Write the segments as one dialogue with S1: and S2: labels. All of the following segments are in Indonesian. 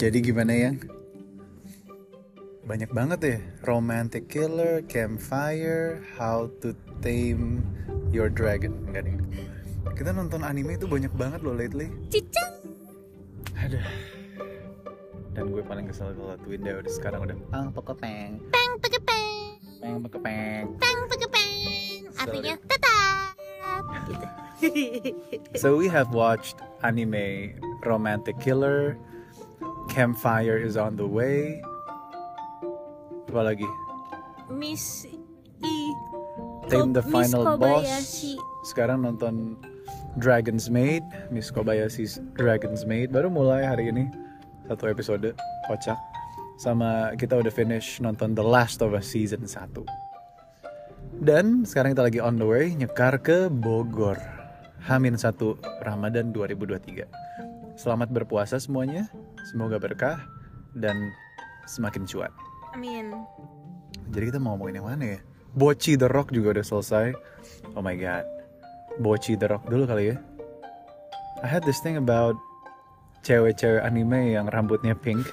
S1: Jadi gimana yang? Banyak banget ya. Romantic Killer, Campfire, How to Tame Your Dragon. Enggak deh. Kita nonton anime itu banyak banget loh lately.
S2: Cicang.
S1: Aduh. Dan gue paling kesel kalau Twinda udah sekarang udah pang pekepeng,
S2: Peng pekepeng.
S1: peng pekepeng.
S2: Peng pekepeng. Artinya tetap. Gitu.
S1: So we have watched anime Romantic Killer, Campfire is on the way. Apa lagi?
S2: Miss I.
S1: Tame the
S2: Miss
S1: Final Boss.
S2: Kobayashi.
S1: Sekarang nonton Dragon's Maid, Miss Kobayashi's Dragon's Maid baru mulai hari ini. Satu episode kocak. Sama kita udah finish nonton The Last of Us season 1. Dan sekarang kita lagi on the way nyekar ke Bogor. Hamin 1 Ramadan 2023. Selamat berpuasa semuanya. Semoga berkah dan semakin cuat.
S2: Amin.
S1: Jadi kita mau ngomongin yang mana ya? Boci The Rock juga udah selesai. Oh my god. Boci The Rock dulu kali ya. I had this thing about cewek-cewek anime yang rambutnya pink.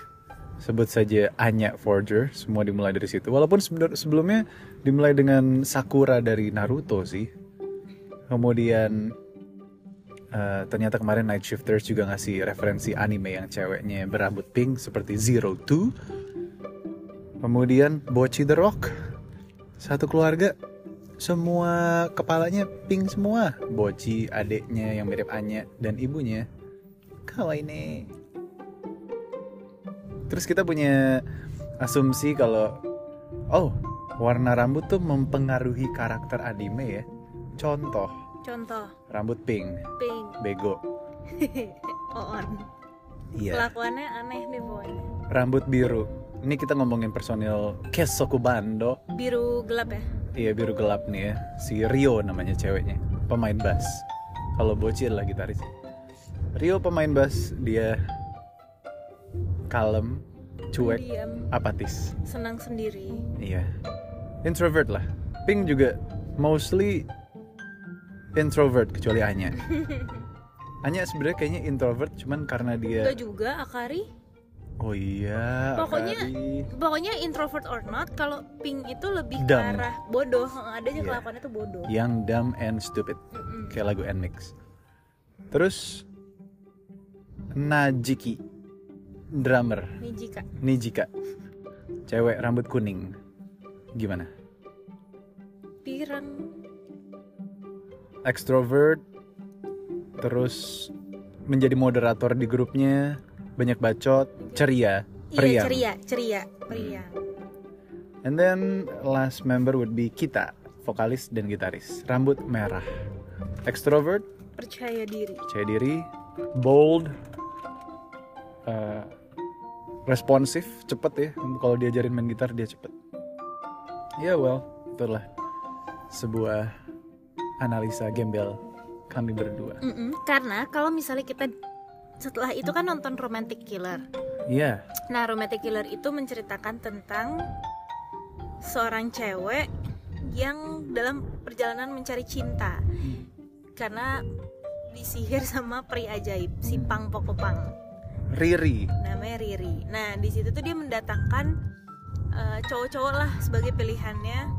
S1: Sebut saja Anya Forger, semua dimulai dari situ. Walaupun sebenar- sebelumnya dimulai dengan Sakura dari Naruto sih. Kemudian eh, ternyata kemarin Night Shifters juga ngasih referensi anime yang ceweknya berambut pink seperti Zero Two. Kemudian Boci The Rock. Satu keluarga semua kepalanya pink semua. Boci adiknya yang mirip Anya dan ibunya. Kawaii Terus kita punya asumsi kalau oh, warna rambut tuh mempengaruhi karakter anime ya. Contoh,
S2: Contoh
S1: rambut pink,
S2: pink.
S1: bego.
S2: Oon.
S1: Iya.
S2: Kelakuannya aneh nih pokoknya.
S1: Rambut biru. Ini kita ngomongin personil Kesoku Bando.
S2: Biru gelap ya.
S1: Iya biru gelap nih ya Si Rio namanya ceweknya Pemain bass Kalau Boci adalah gitaris Rio pemain bass Dia Kalem Cuek
S2: Diam.
S1: Apatis
S2: Senang sendiri.
S1: Iya Introvert lah Pink juga Mostly Introvert Kecuali Anya Anya sebenarnya kayaknya introvert Cuman karena dia
S2: Enggak juga Akari.
S1: Oh iya
S2: Pokoknya-
S1: Akari.
S2: Pokoknya introvert or not, kalau pink itu lebih ke
S1: Dumb.
S2: arah bodoh. Ada aja
S1: Iya.
S2: kelakuannya tuh bodoh.
S1: Yang dumb and stupid
S2: Mm-mm.
S1: kayak lagu Nmix. Terus Najiki drummer
S2: Nih jika
S1: Nijika cewek rambut kuning gimana
S2: pirang
S1: extrovert terus menjadi moderator di grupnya banyak bacot ceria
S2: iya
S1: Periang.
S2: ceria ceria periang
S1: and then last member would be kita vokalis dan gitaris rambut merah extrovert
S2: percaya diri
S1: percaya diri, bold, eh, responsif, cepet ya. Kalau diajarin main gitar dia cepet. Ya well, itulah sebuah analisa gembel kami berdua.
S2: Mm-mm, karena kalau misalnya kita setelah itu kan nonton romantic killer
S1: Iya,
S2: nah romantic killer itu menceritakan tentang seorang cewek yang dalam perjalanan mencari cinta karena disihir sama pria ajaib si pang pokopang
S1: Riri.
S2: namanya Riri. Nah di situ tuh dia mendatangkan eh, cowok-cowok lah sebagai pilihannya,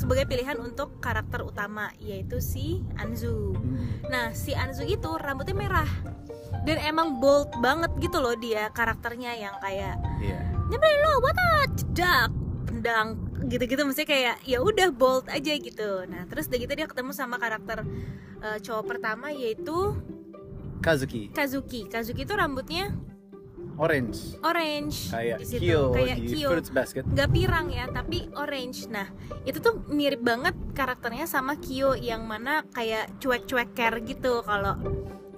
S2: sebagai pilihan untuk karakter utama yaitu si Anzu. Nah si Anzu itu rambutnya merah dan emang bold banget gitu loh dia karakternya yang kayak
S1: Iya.
S2: nyebelin lo buat ah cedak tendang gitu-gitu maksudnya kayak ya udah bold aja gitu. Nah terus udah gitu dia ketemu sama karakter eh, cowok pertama yaitu
S1: Kazuki,
S2: Kazuki. Kazuki itu rambutnya
S1: orange.
S2: orange
S1: Kayak
S2: di situ
S1: Kyo
S2: kayak
S1: di
S2: Kyo
S1: Fruits Basket.
S2: nggak pirang ya tapi orange nah itu tuh mirip banget karakternya sama Kyo yang mana kayak cuek-cueker gitu kalau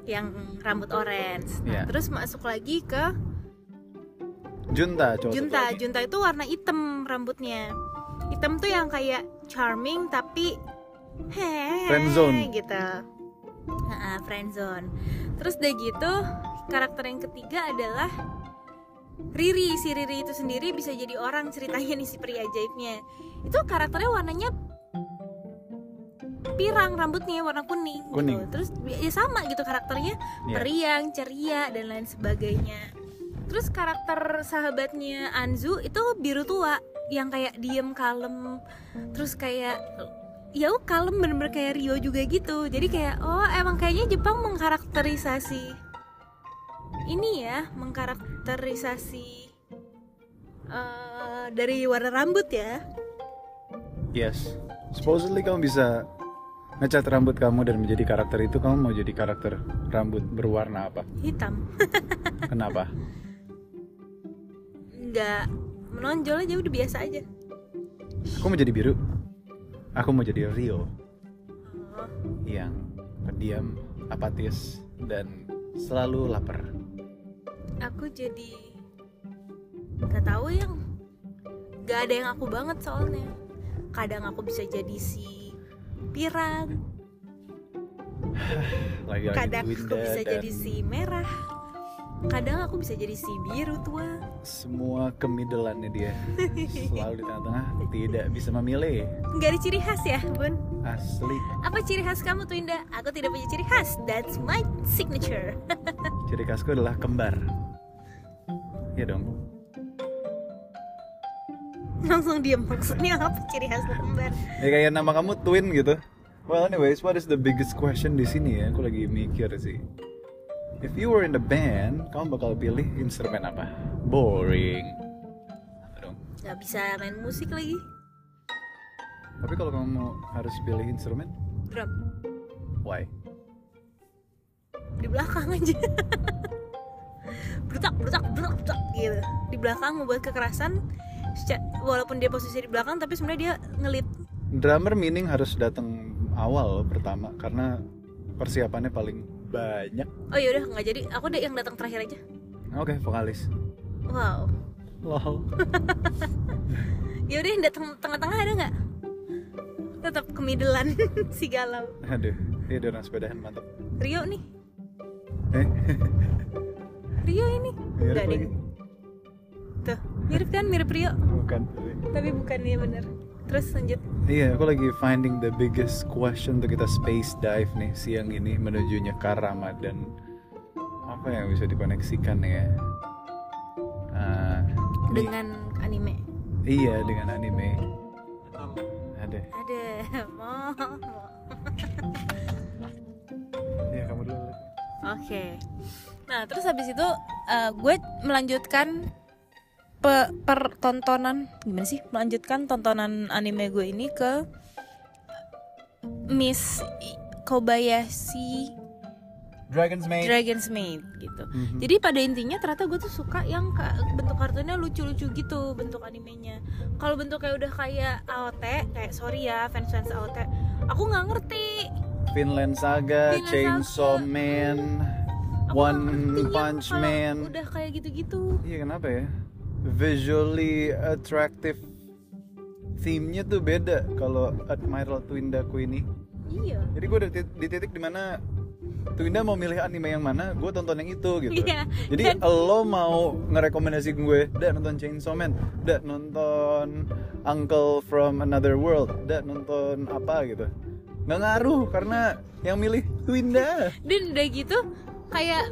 S2: yang rambut orange nah,
S1: Iya.
S2: terus masuk lagi ke
S1: Junta, cowok satu
S2: Junta
S1: lagi.
S2: Junta itu warna hitam rambutnya hitam tuh yang kayak charming tapi hehehe
S1: Friendzone.
S2: gitu Heeh, friendzone terus udah gitu karakter yang ketiga adalah Riri si Riri itu sendiri bisa jadi orang ceritanya nih si pria ajaibnya itu karakternya warnanya pirang rambutnya warna kuning, gitu.
S1: Kuning.
S2: terus ya sama gitu karakternya
S1: Iya.
S2: periang ceria dan lain sebagainya Terus karakter sahabatnya Anzu itu biru tua yang kayak diem kalem terus kayak ya oh, kalem bener-bener kayak Rio juga gitu jadi kayak oh emang kayaknya Jepang mengkarakterisasi ini ya mengkarakterisasi eh, dari warna rambut ya
S1: Yes. Supposedly kamu bisa ngecat rambut kamu dan menjadi karakter itu kamu mau jadi karakter rambut berwarna apa?
S2: hitam
S1: Kenapa?
S2: nggak menonjol aja udah biasa aja
S1: Aku mau jadi biru. Aku mau jadi Rio
S2: Oh,
S1: yang pendiam, apatis dan selalu lapar.
S2: aku jadi nggak tahu yang nggak ada yang aku banget soalnya kadang aku bisa jadi si pirang
S1: Lagi-lagi
S2: kadang aku
S1: Winda
S2: bisa
S1: dan
S2: jadi si merah kadang aku bisa jadi si biru tua
S1: semua kemidelannya dia selalu di tengah-tengah tidak bisa memilih
S2: nggak ada ciri khas ya bun
S1: asli
S2: apa ciri khas kamu tuh Indah aku tidak punya ciri khas that's my signature
S1: ciri khasku adalah kembar ya dong
S2: langsung diam maksudnya apa ciri khas lu kembar
S1: Ya kayak nama kamu twin gitu. Well anyways, what is the biggest question di sini ya? Aku lagi mikir sih. If you were in the band, kamu bakal pilih instrumen apa? Boring. Apa dong?
S2: nggak bisa main musik lagi
S1: Tapi kalau kamu harus pilih instrumen,
S2: drum
S1: why?
S2: di belakang aja brutak brutak brutak brutak gitu di belakang membuat kekerasan seca- walaupun dia posisi di belakang tapi sebenarnya dia ngelit
S1: Drummer meaning harus datang awal pertama karena persiapannya paling banyak.
S2: oh yaudah nggak jadi aku deh yang datang terakhir aja
S1: Oke, vokalis.
S2: wow
S1: Lol.
S2: yaudah yang datang tengah-tengah ada nggak tetap kemidelan si galau
S1: Aduh, dia ada orang sepedahan mantap.
S2: Rio nih
S1: Eh,
S2: Rio ini
S1: mirip
S2: Nggak deh.
S1: lagi.
S2: tuh mirip kan mirip Rio
S1: Bukan.
S2: tapi bukan ya bener terus lanjut
S1: Iya, aku lagi finding the biggest question untuk kita space dive nih siang ini menuju Nyekar Ramadan. Apa yang bisa dikoneksikan ya? Ah, di-
S2: dengan anime
S1: iya dengan anime. Ada.
S2: ada mau mau.
S1: Iya kamu dulu.
S2: Oke. Nah, terus habis itu eh, gue melanjutkan pe- pertontonan gimana sih? Melanjutkan tontonan anime gue ini ke Miss I- Kobayashi
S1: Dragon's Maid.
S2: Dragon's Maid gitu.
S1: Mhm.
S2: Jadi pada intinya ternyata gue tuh suka yang ka- bentuk kartunya lucu-lucu gitu bentuk animenya. Kalau bentuknya udah kayak AOT, kayak sorry ya fans-fans AOT, aku nggak ngerti.
S1: Finland Saga,
S2: Vinland Saga.
S1: Chainsaw Man,
S2: Aku nggak ngerti
S1: One
S2: yang
S1: Punch
S2: kalau
S1: Man.
S2: Udah kayak gitu-gitu.
S1: Iya kenapa ya? Visually attractive theme-nya tuh beda kalau Admiral Twin Daku ini.
S2: Iya.
S1: Jadi gue udah tit- di titik dimana Twinda mau milih anime yang mana, gue tonton yang itu gitu.
S2: Iya,
S1: Jadi lo mau ngerekomendasi gue, udah nonton Chainsaw Man, udah nonton Uncle from Another World, udah nonton apa gitu. Nggak ngaruh karena yang milih Twinda.
S2: dan udah gitu kayak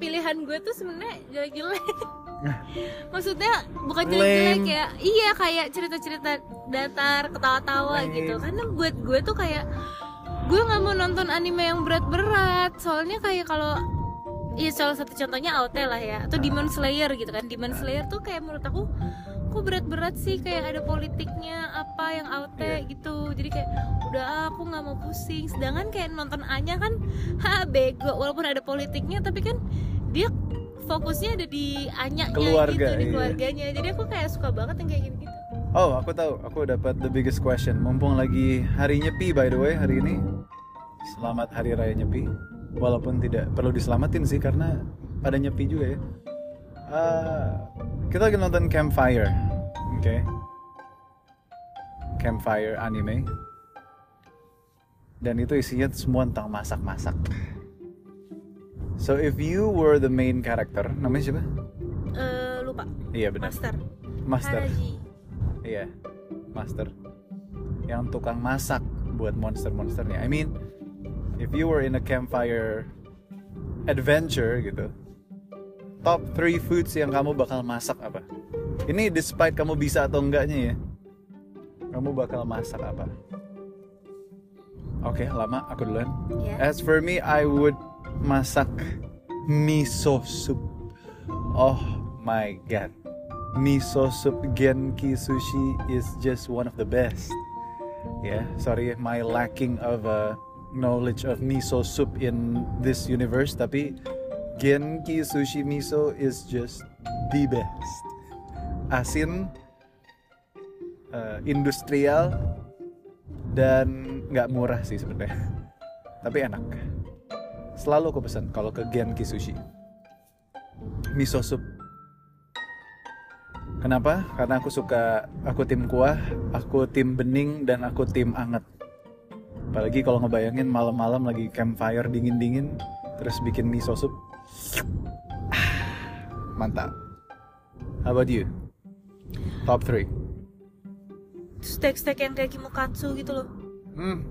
S2: pilihan gue tuh sebenarnya jelek-jelek maksudnya bukan
S1: Lame.
S2: jelek-jelek ya iya kayak cerita-cerita datar ketawa-tawa
S1: Lame.
S2: gitu karena buat gue tuh kayak gue nggak mau nonton anime yang berat-berat soalnya kayak kalau Iya salah satu contohnya AOT lah ya Atau Demon Slayer gitu kan Demon Slayer tuh kayak menurut aku Kok berat-berat sih kayak ada politiknya Apa yang AOT
S1: Iya.
S2: gitu Jadi kayak udah ah, aku nggak mau pusing Sedangkan kayak nonton A-nya kan Ha bego walaupun ada politiknya Tapi kan dia fokusnya ada di Anya-nya
S1: Keluarga,
S2: gitu Di
S1: iya.
S2: keluarganya Jadi aku kayak suka banget yang kayak gitu-gitu
S1: Oh, aku tahu. Aku dapat the biggest question. Mumpung lagi hari Nyepi by the way hari ini. Selamat Hari Raya Nyepi. Walaupun tidak perlu diselamatin sih karena pada Nyepi juga ya. Eh, kita lagi nonton Campfire. Oke. Campfire anime. Dan itu isinya semua tentang masak-masak. So if you were the main character, namanya siapa?
S2: Eh, Lupa
S1: Iya benar.
S2: Master
S1: Master.
S2: Haraji
S1: Iya, master. Yang tukang masak buat monster-monsternya. I mean, if you were in a campfire adventure gitu, top 3 foods yang kamu bakal masak apa? Ini despite kamu bisa atau enggaknya ya. Kamu bakal masak apa? Oke, lama aku duluan.
S2: Ya.
S1: As for me, I would masak miso soup. Oh my god. Miso soup Genki sushi is just one of the best. Yeah, sorry my lacking of uh, knowledge of miso soup in this universe, tapi Genki sushi miso is just the best. Asin, uh, industrial, dan nggak murah sih sebenarnya. Tapi enak. Selalu aku pesan kalau ke Genki Sushi. Miso soup. Kenapa? Karena aku suka aku tim kuah, aku tim bening dan aku tim anget. Apalagi kalau ngebayangin malam-malam lagi campfire dingin-dingin terus bikin miso soup. Ah, Mantap. How about you? Top 3.
S2: Steak-steak yang kayak kimokatsu gitu loh.
S1: Hmm.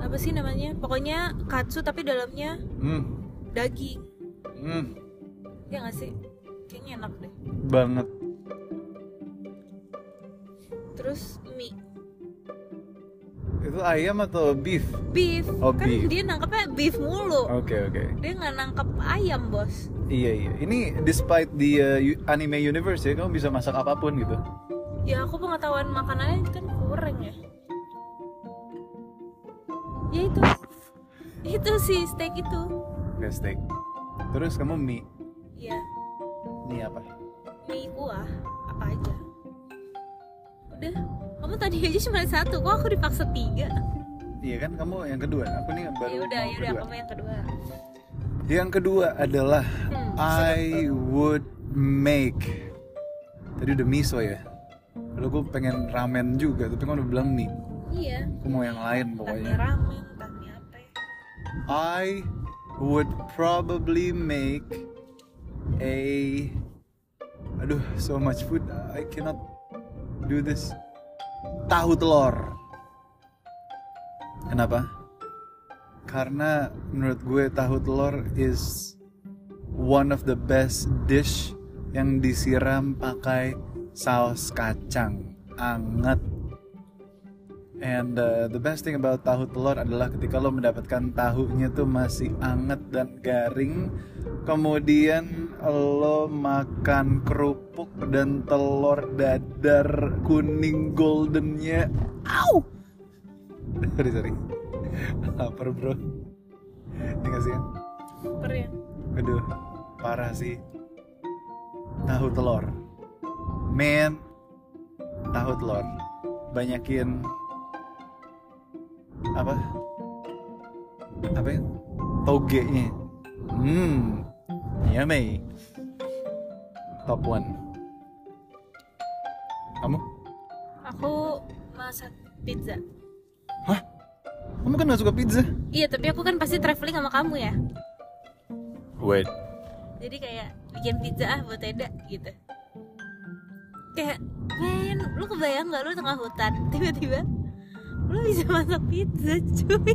S2: Apa sih namanya? Pokoknya katsu tapi dalamnya
S1: Hmm.
S2: daging.
S1: Hmm.
S2: Ya nggak sih? Kayaknya enak deh.
S1: Banget.
S2: Terus mie
S1: Itu ayam atau beef?
S2: beef.
S1: Oh,
S2: kan
S1: beef.
S2: dia nangkepnya beef mulu.
S1: Oke oke.
S2: Dia nggak nangkep ayam, Bos.
S1: Iya iya. Ini despite the uh, u- anime universe ya, kamu bisa masak apapun gitu.
S2: Ya aku pengetahuan makanannya kan kurang ya. Ya itu. Itu sih steak itu.
S1: Kayak steak. Terus kamu mie,
S2: Ya,
S1: mie apa?
S2: mie kuah apa aja. Udah, kamu tadi aja cuma satu, kok aku dipaksa tiga.
S1: Iya kan kamu yang kedua. Aku nih baru mau
S2: Ya udah, ya udah
S1: kedua. Hmm.
S2: kamu yang kedua.
S1: Yang kedua adalah
S2: Hmm,
S1: I would make. Tadi udah miso ya. Lalu gue pengen ramen juga, tapi kamu udah bilang mie.
S2: Iya.
S1: Aku mau yang lain
S2: Entah
S1: pokoknya.
S2: mie ramen, entah mie apa. ya.
S1: I would probably make a aduh so much food I cannot do this tahu telur kenapa karena menurut gue tahu telur is one of the best dish yang disiram pakai saus kacang anget And uh, the best thing about tahu telur adalah ketika lo mendapatkan tahunya tuh masih anget dan garing. Kemudian lo makan kerupuk dan telur dadar kuning goldennya. Au! sorry, sorry. Laper bro. Ini gak sih ya?
S2: Super ya.
S1: Aduh, parah sih. Tahu telur. Men, tahu telur. Banyakin apa? Apa ya? Toge-nya. Hmm, yummy. Top one. Kamu?
S2: Aku masak pizza.
S1: Hah? Kamu kan gak suka pizza?
S2: Iya, tapi aku kan pasti traveling sama kamu ya.
S1: Wait.
S2: Jadi kayak bikin pizza ah buat Eda gitu. Kayak men, lu kebayang nggak lu tengah hutan tiba-tiba lu bisa masak pizza cuy.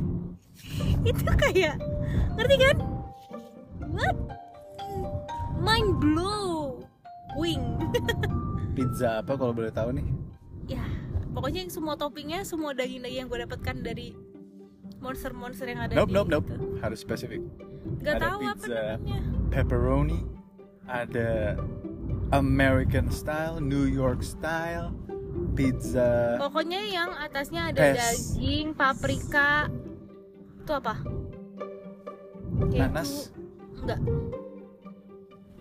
S2: Itu kayak ngerti kan? What? Mind blow. Wing.
S1: Pizza apa kalau boleh tahu nih?
S2: ya, pokoknya yang semua toppingnya, semua daging-daging yang gue dapatkan dari monster-monster yang ada
S1: Nope,
S2: di
S1: nope, nope.
S2: itu.
S1: Harus spesifik. Ada
S2: Gak tahu apa
S1: pizza.
S2: namanya.
S1: pepperoni, ada American style, New York style, pizza.
S2: Pokoknya yang atasnya
S1: Pes.
S2: ada daging, paprika. Itu apa? Kayak
S1: Nanas?
S2: itu- Enggak.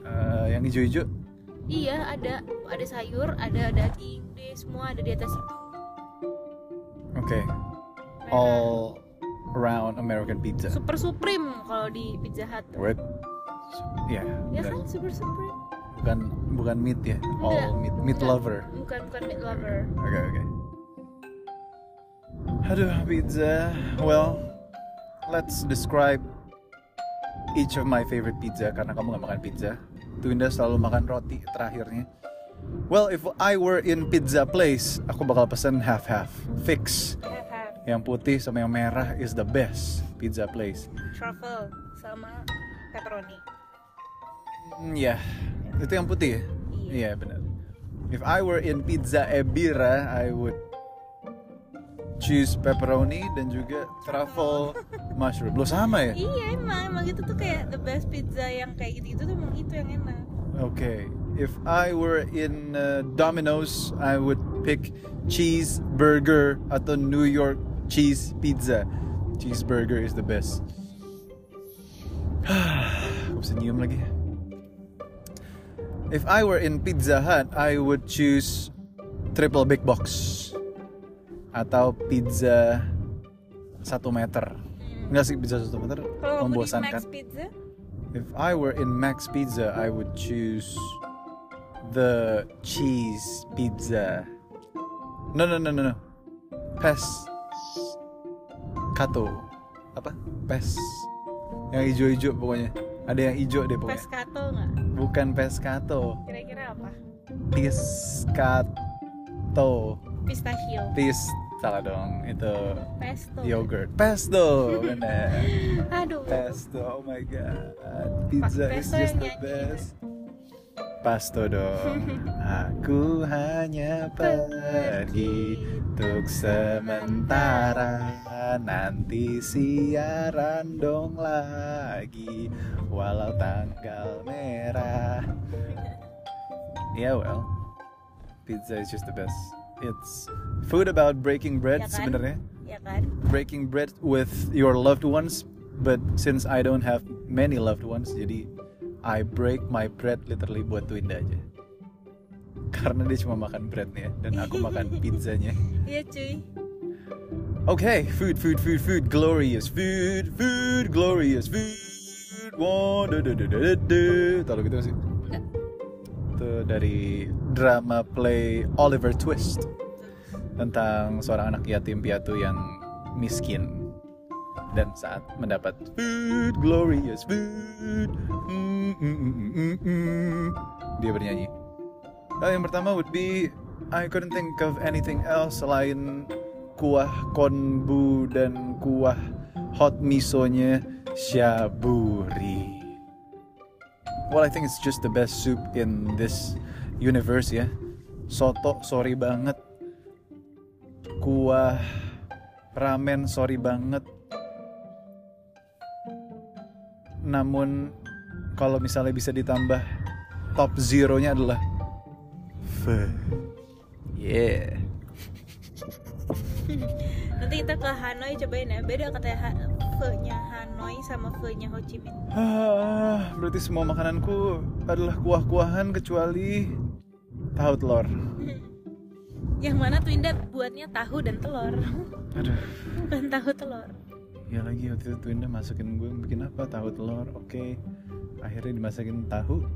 S1: Eh, yang hijau-hijau.
S2: Iya, ada ada sayur, ada daging, deh semua ada di atas itu.
S1: Oke,
S2: Nah,
S1: all round American pizza.
S2: Super Supreme kalau di Pizza Hut.
S1: Wait. Ya,
S2: Ya
S1: bukan,
S2: kan Super Supreme.
S1: bukan bukan meat ya. All meat meat
S2: Enggak.
S1: lover.
S2: Bukan bukan meat lover.
S1: Oke, oke. Aduh, pizza. uh, Well, let's describe each of my favorite pizza karena kamu nggak makan pizza. Twinda selalu makan roti terakhirnya. Well, if I were in pizza place, aku bakal pesen half-half, fix.
S2: Have
S1: Yang putih sama yang merah is the best pizza place.
S2: truffle sama pepperoni.
S1: Mm, ya, itu yang putih. ya?
S2: Iya.
S1: Iya benar. If I were in Pizza Ebira, I would choose pepperoni dan juga truffle mushroom. Lo sama ya?
S2: Iya emang, emang itu tuh kayak the best pizza yang kayak gitu-gitu tuh emang itu yang enak.
S1: Okay. If I were in uh, Domino's, I would pick cheeseburger atau New York cheese pizza. Cheeseburger is the best. Aku bisa nyium lagi. If I were in Pizza Hut, I would choose triple big box atau pizza satu meter. Enggak sih pizza satu meter
S2: Kalau aku di Max
S1: membosankan.
S2: Pizza,
S1: If I were in Max Pizza, I would choose the cheese pizza. No, no, no, no, no. Pes kato. Apa? Pes. Yang ijo-ijo pokoknya. Ada yang ijo deh pokoknya.
S2: pescato nggak?
S1: Bukan pescato.
S2: Kira-kira apa?
S1: Piscato.
S2: Pistachio,
S1: Pis salah dong. Itu
S2: pesto.
S1: yogurt. Pesto. Benar.
S2: Aduh.
S1: Pesto, oh my god, pizza is just
S2: Pesto yang
S1: the
S2: nyanyi gitu.
S1: best. Pasto dong, aku hanya pergi untuk sementara. Nanti siaran dong lagi, walau tanggal merah. Yeah well, pizza is just the best. It's food about breaking bread
S2: Ya kan?
S1: sebenarnya
S2: Ya kan?
S1: breaking bread with your loved ones, but since I don't have many loved ones, jadi I break my bread literally buat Twinda aja. Karena dia cuma makan breadnya dan aku makan pizzanya.
S2: Iya cuy.
S1: Okay, food, food, food, food, glorious food, food, glorious food. Wow, du- du- du- du- du- du. Tahu lo gitu nggak sih?
S2: Nggak.
S1: Itu dari drama play Oliver Twist tentang seorang anak yatim piatu yang miskin dan saat mendapat food glorious food mm, mm, mm, mm, mm, mm, dia bernyanyi Uh, yang pertama would be I couldn't think of anything else selain kuah konbu dan kuah hot misonya shaburi well I think it's just the best soup in this universe ya soto sorry banget kuah ramen sorry banget namun kalau misalnya bisa ditambah top zero nya adalah pho yeah
S2: Nanti kita ke Hanoi cobain ya. Beda katanya ha Pho-nya Hanoi sama Pho-nya Ho Chi Minh.
S1: Ah, berarti semua makananku adalah kuah-kuahan kecuali tahu telur
S2: Yang mana Twinda buatnya tahu dan telur,
S1: aduh
S2: bukan tahu telur.
S1: ya lagi waktu itu Twinda masukin gue bikin apa tahu telur oke akhirnya dimasakin tahu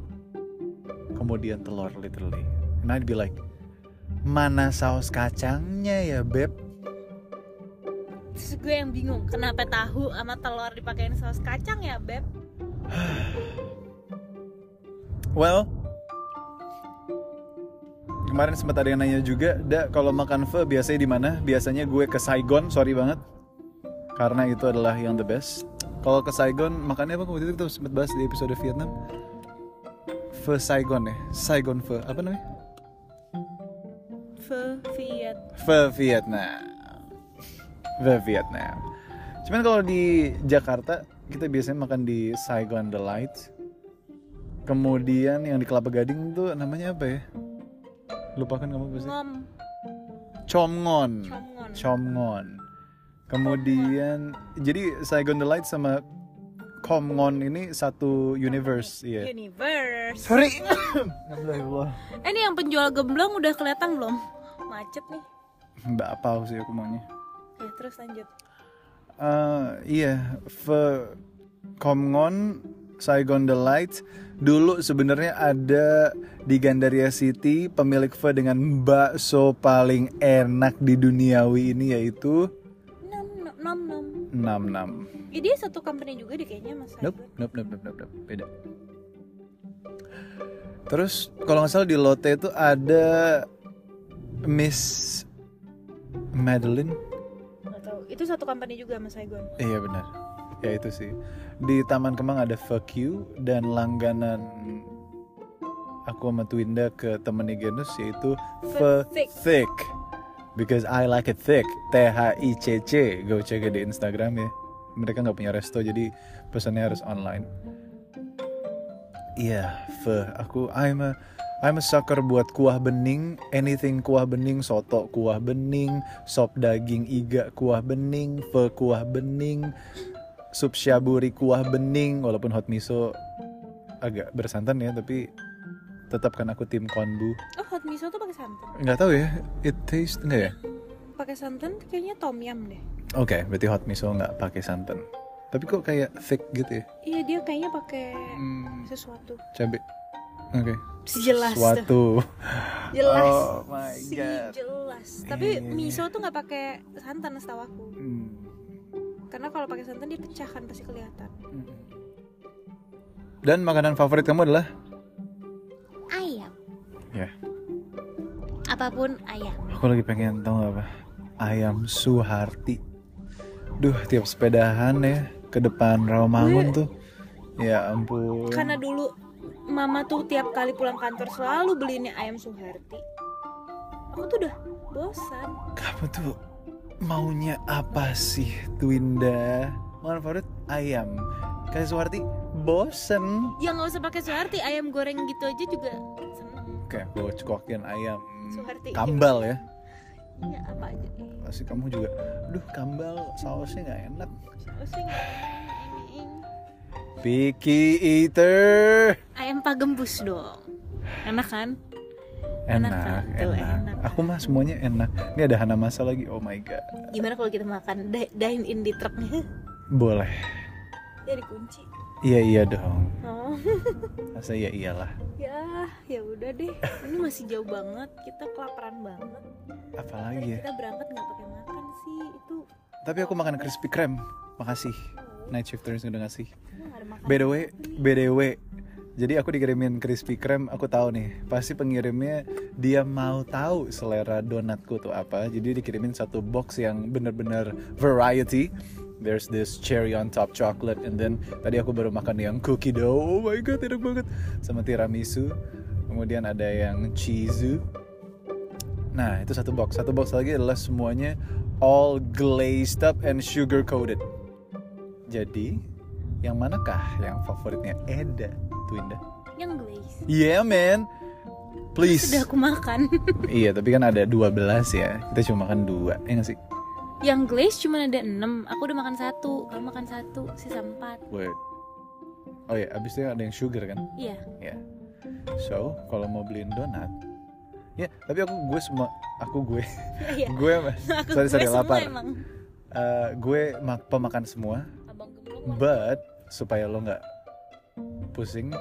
S1: kemudian telur literally and I'd be like mana saus kacangnya ya beb
S2: Terus gue yang bingung, kenapa tahu sama telur dipakein saus kacang ya, Beb?
S1: well kemarin sempat ada yang nanya juga da kalau makan pho biasanya di mana biasanya gue ke Saigon sorry banget karena itu adalah yang the best kalau ke Saigon makannya apa kemudian kita sempat bahas di episode Vietnam pho Saigon ya Saigon pho apa namanya
S2: Pho Viet.
S1: Ve Vietnam. Ve Vietnam. Cuman kalau di Jakarta kita biasanya makan di Saigon Delight. Kemudian yang di Kelapa Gading tuh namanya apa ya? Lupakan kamu pasti.
S2: Ngom,
S1: Chomngon.
S2: Chomngon.
S1: Chomngon. Kemudian jadi Saigon Delight sama Komngon ini satu universe, iya.
S2: Universe.
S1: Sorry. Alhamdulillah.
S2: Eh, ini yang penjual gemblong udah kelihatan belum? Macet nih.
S1: Mbak apa sih aku maunya?
S2: Ya, terus lanjut.
S1: Eh, iya, Ve Komngon, Saigon Delight. Dulu sebenarnya ada di Gandaria City pemilik Ve dengan bakso paling enak di duniawi ini yaitu
S2: Nom nom nom. nom.
S1: 66.
S2: Eh, dia satu company juga deh kayaknya Mas.
S1: Nope,
S2: Saigon.
S1: nope, nope, nope, nope, nope. beda. Terus kalau nggak salah di Lotte itu ada Miss Madeline.
S2: Nggak tahu. Itu satu company juga Mas Saigon.
S1: Iya benar. ya itu sih di Taman Kemang ada Fuck You dan langganan aku sama Twinda ke temennya Genus yaitu Fe
S2: Thick.
S1: Thick because I like it thick T H I C C go check it di Instagram ya mereka nggak punya resto jadi pesannya harus online iya Fe aku I'm a I'm a sucker buat kuah bening, anything kuah bening, soto kuah bening, sop daging iga kuah bening, fe kuah bening, sup syaburi kuah bening walaupun hot miso agak bersantan ya tapi tetap kan aku tim konbu
S2: oh hot miso tuh pakai santan
S1: nggak tahu ya it taste nggak ya
S2: pakai santan kayaknya tom yum deh
S1: oke berarti hot miso nggak pakai santan tapi kok kayak thick gitu ya
S2: iya dia kayaknya pakai
S1: hmm,
S2: sesuatu
S1: cabe oke
S2: jelas tuh
S1: suatu
S2: jelas
S1: Oh my
S2: Si
S1: God.
S2: jelas tapi
S1: Iya.
S2: miso tuh nggak pakai santan setahu aku
S1: Hmm.
S2: karena kalau pakai santan dia pecah kan pasti kelihatan
S1: dan makanan favorit kamu adalah
S2: ayam
S1: Ya.
S2: apapun ayam
S1: Aku lagi pengen tau nggak apa Ayam Suharti Duh tiap sepedahan ya Ke depan Rawamangun tuh Ya ampun
S2: karena dulu mama tuh tiap kali pulang kantor selalu beliinnya ayam suharti aku tuh udah bosan
S1: Kamu tuh maunya apa sih Twinda Makanan favorit ayam Kayak Suharti bosen
S2: ya nggak usah pakai suharti ayam goreng gitu aja juga seneng
S1: Oke aku cekokin ayam
S2: suharti iya.
S1: Kambal ya
S2: ya apa aja eh.
S1: Pasti kamu juga Duh kambal sausnya nggak enak
S2: Pusing.
S1: Picky eater
S2: ayam pagembus dong enak kan Enak
S1: Enak,
S2: kan? Tuh,
S1: enak.
S2: enak.
S1: Aku mah semuanya enak. Ini ada Hana Masa lagi. Oh my god.
S2: gimana kalau kita makan Di- dine in di truknya
S1: Boleh.
S2: dari kunci
S1: Iya iya dong.
S2: oh
S1: Masa iya iyalah.
S2: ya ya udah deh ini masih jauh banget kita kelaparan banget Tadi
S1: Apalagi ya.
S2: kita berangkat nggak pakai makan sih itu
S1: Tapi aku makan crispy krem. Makasih.
S2: oh,
S1: Night shifters udah ngasih.
S2: emang nggak ada makan
S1: By the way, by the way. Jadi aku dikirimin crispy krem, aku tahu nih. Pasti pengirimnya dia mau tahu selera donatku tuh apa. Jadi dikirimin satu box yang bener-bener variety. There's this cherry on top chocolate and then tadi aku baru makan yang cookie dough. Oh my god, enak banget. Sama tiramisu. Kemudian ada yang cheesu. Nah, itu satu box. Satu box lagi adalah semuanya all glazed up and sugar coated. Jadi, yang manakah yang favoritnya Eda, Twinda?
S2: yang glaze
S1: Yeah, man. Please.
S2: sudah aku makan
S1: iya, tapi kan ada 12 ya. Kita cuma makan dua, ya nggak sih?
S2: yang glaze cuma ada 6 aku udah makan satu kamu makan satu sisa 4
S1: Word. Oh iya, abis itu ada yang sugar kan?
S2: iya
S1: Ya. So, kalau mau beliin donat, ya, tapi aku gue semua aku gue
S2: iya
S1: gue
S2: aku
S1: sorry, sorry,
S2: gue semua
S1: lapar.
S2: emang
S1: eh, gue mak pemakan semua
S2: abang gemblong makan.
S1: But supaya lo nggak pusing,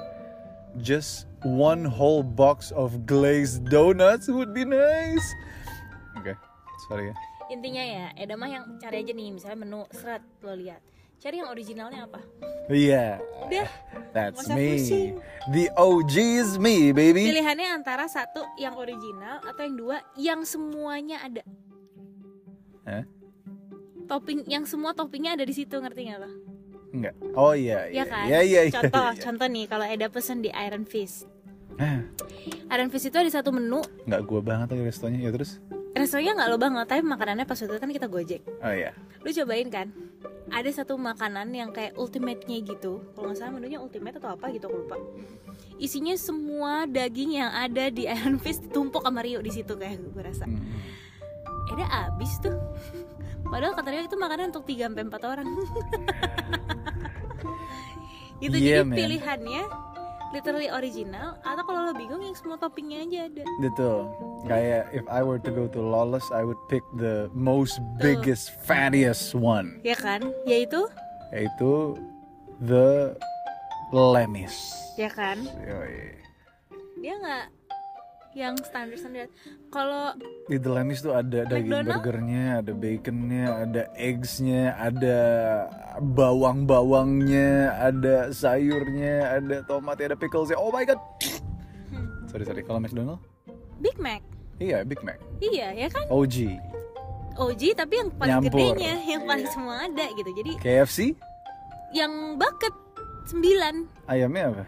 S1: just one whole box of glazed donuts would be nice. Oke, sorry ya.
S2: intinya ya Eda mah yang cari aja nih misalnya menu seret lo lihat cari yang originalnya apa
S1: Iya,
S2: udah
S1: that's
S2: Masa
S1: me.
S2: pusing.
S1: The OG is me, baby.
S2: pilihannya antara satu yang original atau yang dua yang semuanya ada
S1: Hah?
S2: topping yang semua toppingnya ada di situ ngerti nggak lo
S1: Enggak. Oh iya,
S2: ya kan
S1: Iya, iya, iya.
S2: contoh
S1: iya.
S2: contoh nih kalau Eda pesen di Iron Fist
S1: Ah,
S2: Iron Fist itu ada satu menu
S1: Nggak gua banget lagi restonya. Ya terus?
S2: restonya nggak lo banget tapi makanannya pas waktu itu kan kita gojek
S1: Oh iya.
S2: lu cobain kan ada satu makanan yang kayak ultimate-nya gitu kalau nggak salah menunya ultimate atau apa gitu aku lupa isinya semua daging yang ada di Iron Fist ditumpuk sama Rio di situ kayak gue rasa
S1: Hmm.
S2: ada abis tuh padahal kata Rio itu makanan untuk 3 sampai 4 orang gitu
S1: Iya,
S2: jadi
S1: man.
S2: pilihannya literally original atau kalau lo bingung yang semua toppingnya aja ada
S1: Betul. Kayak if I were to go to Lawless, I would pick the most biggest, fattiest one.
S2: ya kan yaitu
S1: yaitu The Lemis.
S2: ya kan
S1: Yoi.
S2: dia nggak yang standar standar kalau
S1: Di The Lemis tuh ada daging
S2: McDonald?
S1: burgernya, ada baconnya, ada eggsnya, ada bawang-bawangnya, ada sayurnya, ada tomatnya, ada picklesnya. Oh my god. Sorry sorry, kalau McDonald?
S2: Big Mac
S1: Iya Big Mac,
S2: iya ya kan
S1: OG,
S2: OG tapi yang paling
S1: Nyampur.
S2: gedenya yang paling
S1: Iya.
S2: semua ada gitu jadi
S1: KFC,
S2: yang bucket 9
S1: Ayamnya apa?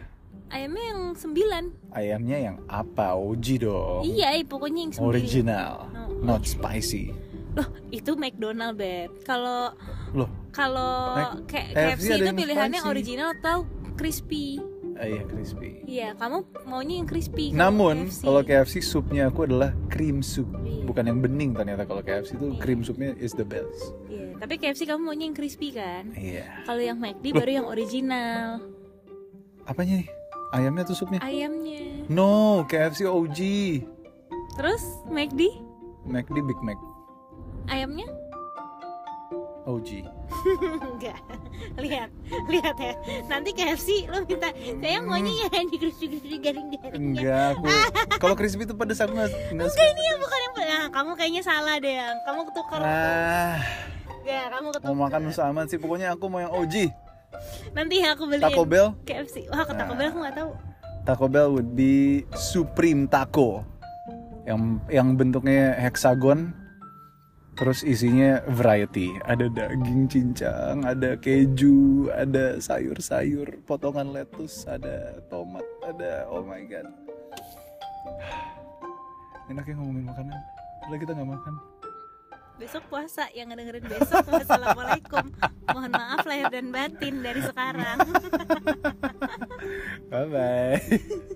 S2: ayamnya yang 9
S1: Ayamnya yang apa? Oji dong.
S2: iya eh, pokoknya yang 9
S1: Oh. Original,
S2: Oh.
S1: not spicy.
S2: loh itu McDonald beb kalau
S1: Loh,
S2: kalau
S1: Mac-
S2: kayak
S1: KFC ada
S2: KFC itu
S1: yang
S2: pilihannya
S1: spicy.
S2: original atau crispy
S1: eh, iya crispy.
S2: Iya, kamu maunya yang crispy. kalau
S1: Namun
S2: KFC.
S1: kalau KFC supnya aku adalah cream soup,
S2: Iya.
S1: bukan yang bening ternyata kalau KFC itu
S2: Iya.
S1: cream soupnya is the best.
S2: Iya, tapi KFC kamu maunya yang crispy kan?
S1: Iya.
S2: Kalau yang McD baru yang original
S1: Apanya nih? Ayamnya tuh supnya?
S2: ayamnya.
S1: No, KFC OG.
S2: Terus McD
S1: McD Big Mac
S2: ayamnya?
S1: OG.
S2: Enggak. Lihat, lihat ya. Nanti KFC lo minta saya maunya yang di crispy-crispy garing-garing.
S1: Hmm. Enggak, aku kalau crispy itu pedes aku nggak nggak
S2: Enggak ini yang bukan yang nah, kamu kayaknya salah deh. Yang. Kamu ketukar.
S1: Ah,
S2: Enggak, kamu
S1: mau
S2: ketukar.
S1: makan sama sih. Pokoknya aku mau yang OG.
S2: Nanti ya aku beliin.
S1: Taco Bell,
S2: KFC. Wah, ke Taco Bell aku nggak tahu.
S1: Taco Bell would be Supreme Taco. Yang yang bentuknya hexagon terus isinya variety. Ada daging cincang, ada keju, ada sayur-sayur, potongan lettuce, ada tomat, ada oh my god. Enak ya ngomongin makanan. Padahal kita nggak makan.
S2: Besok puasa yang ngedengerin besok Wassalamualaikum Mohon maaf lahir dan batin dari sekarang
S1: Bye bye.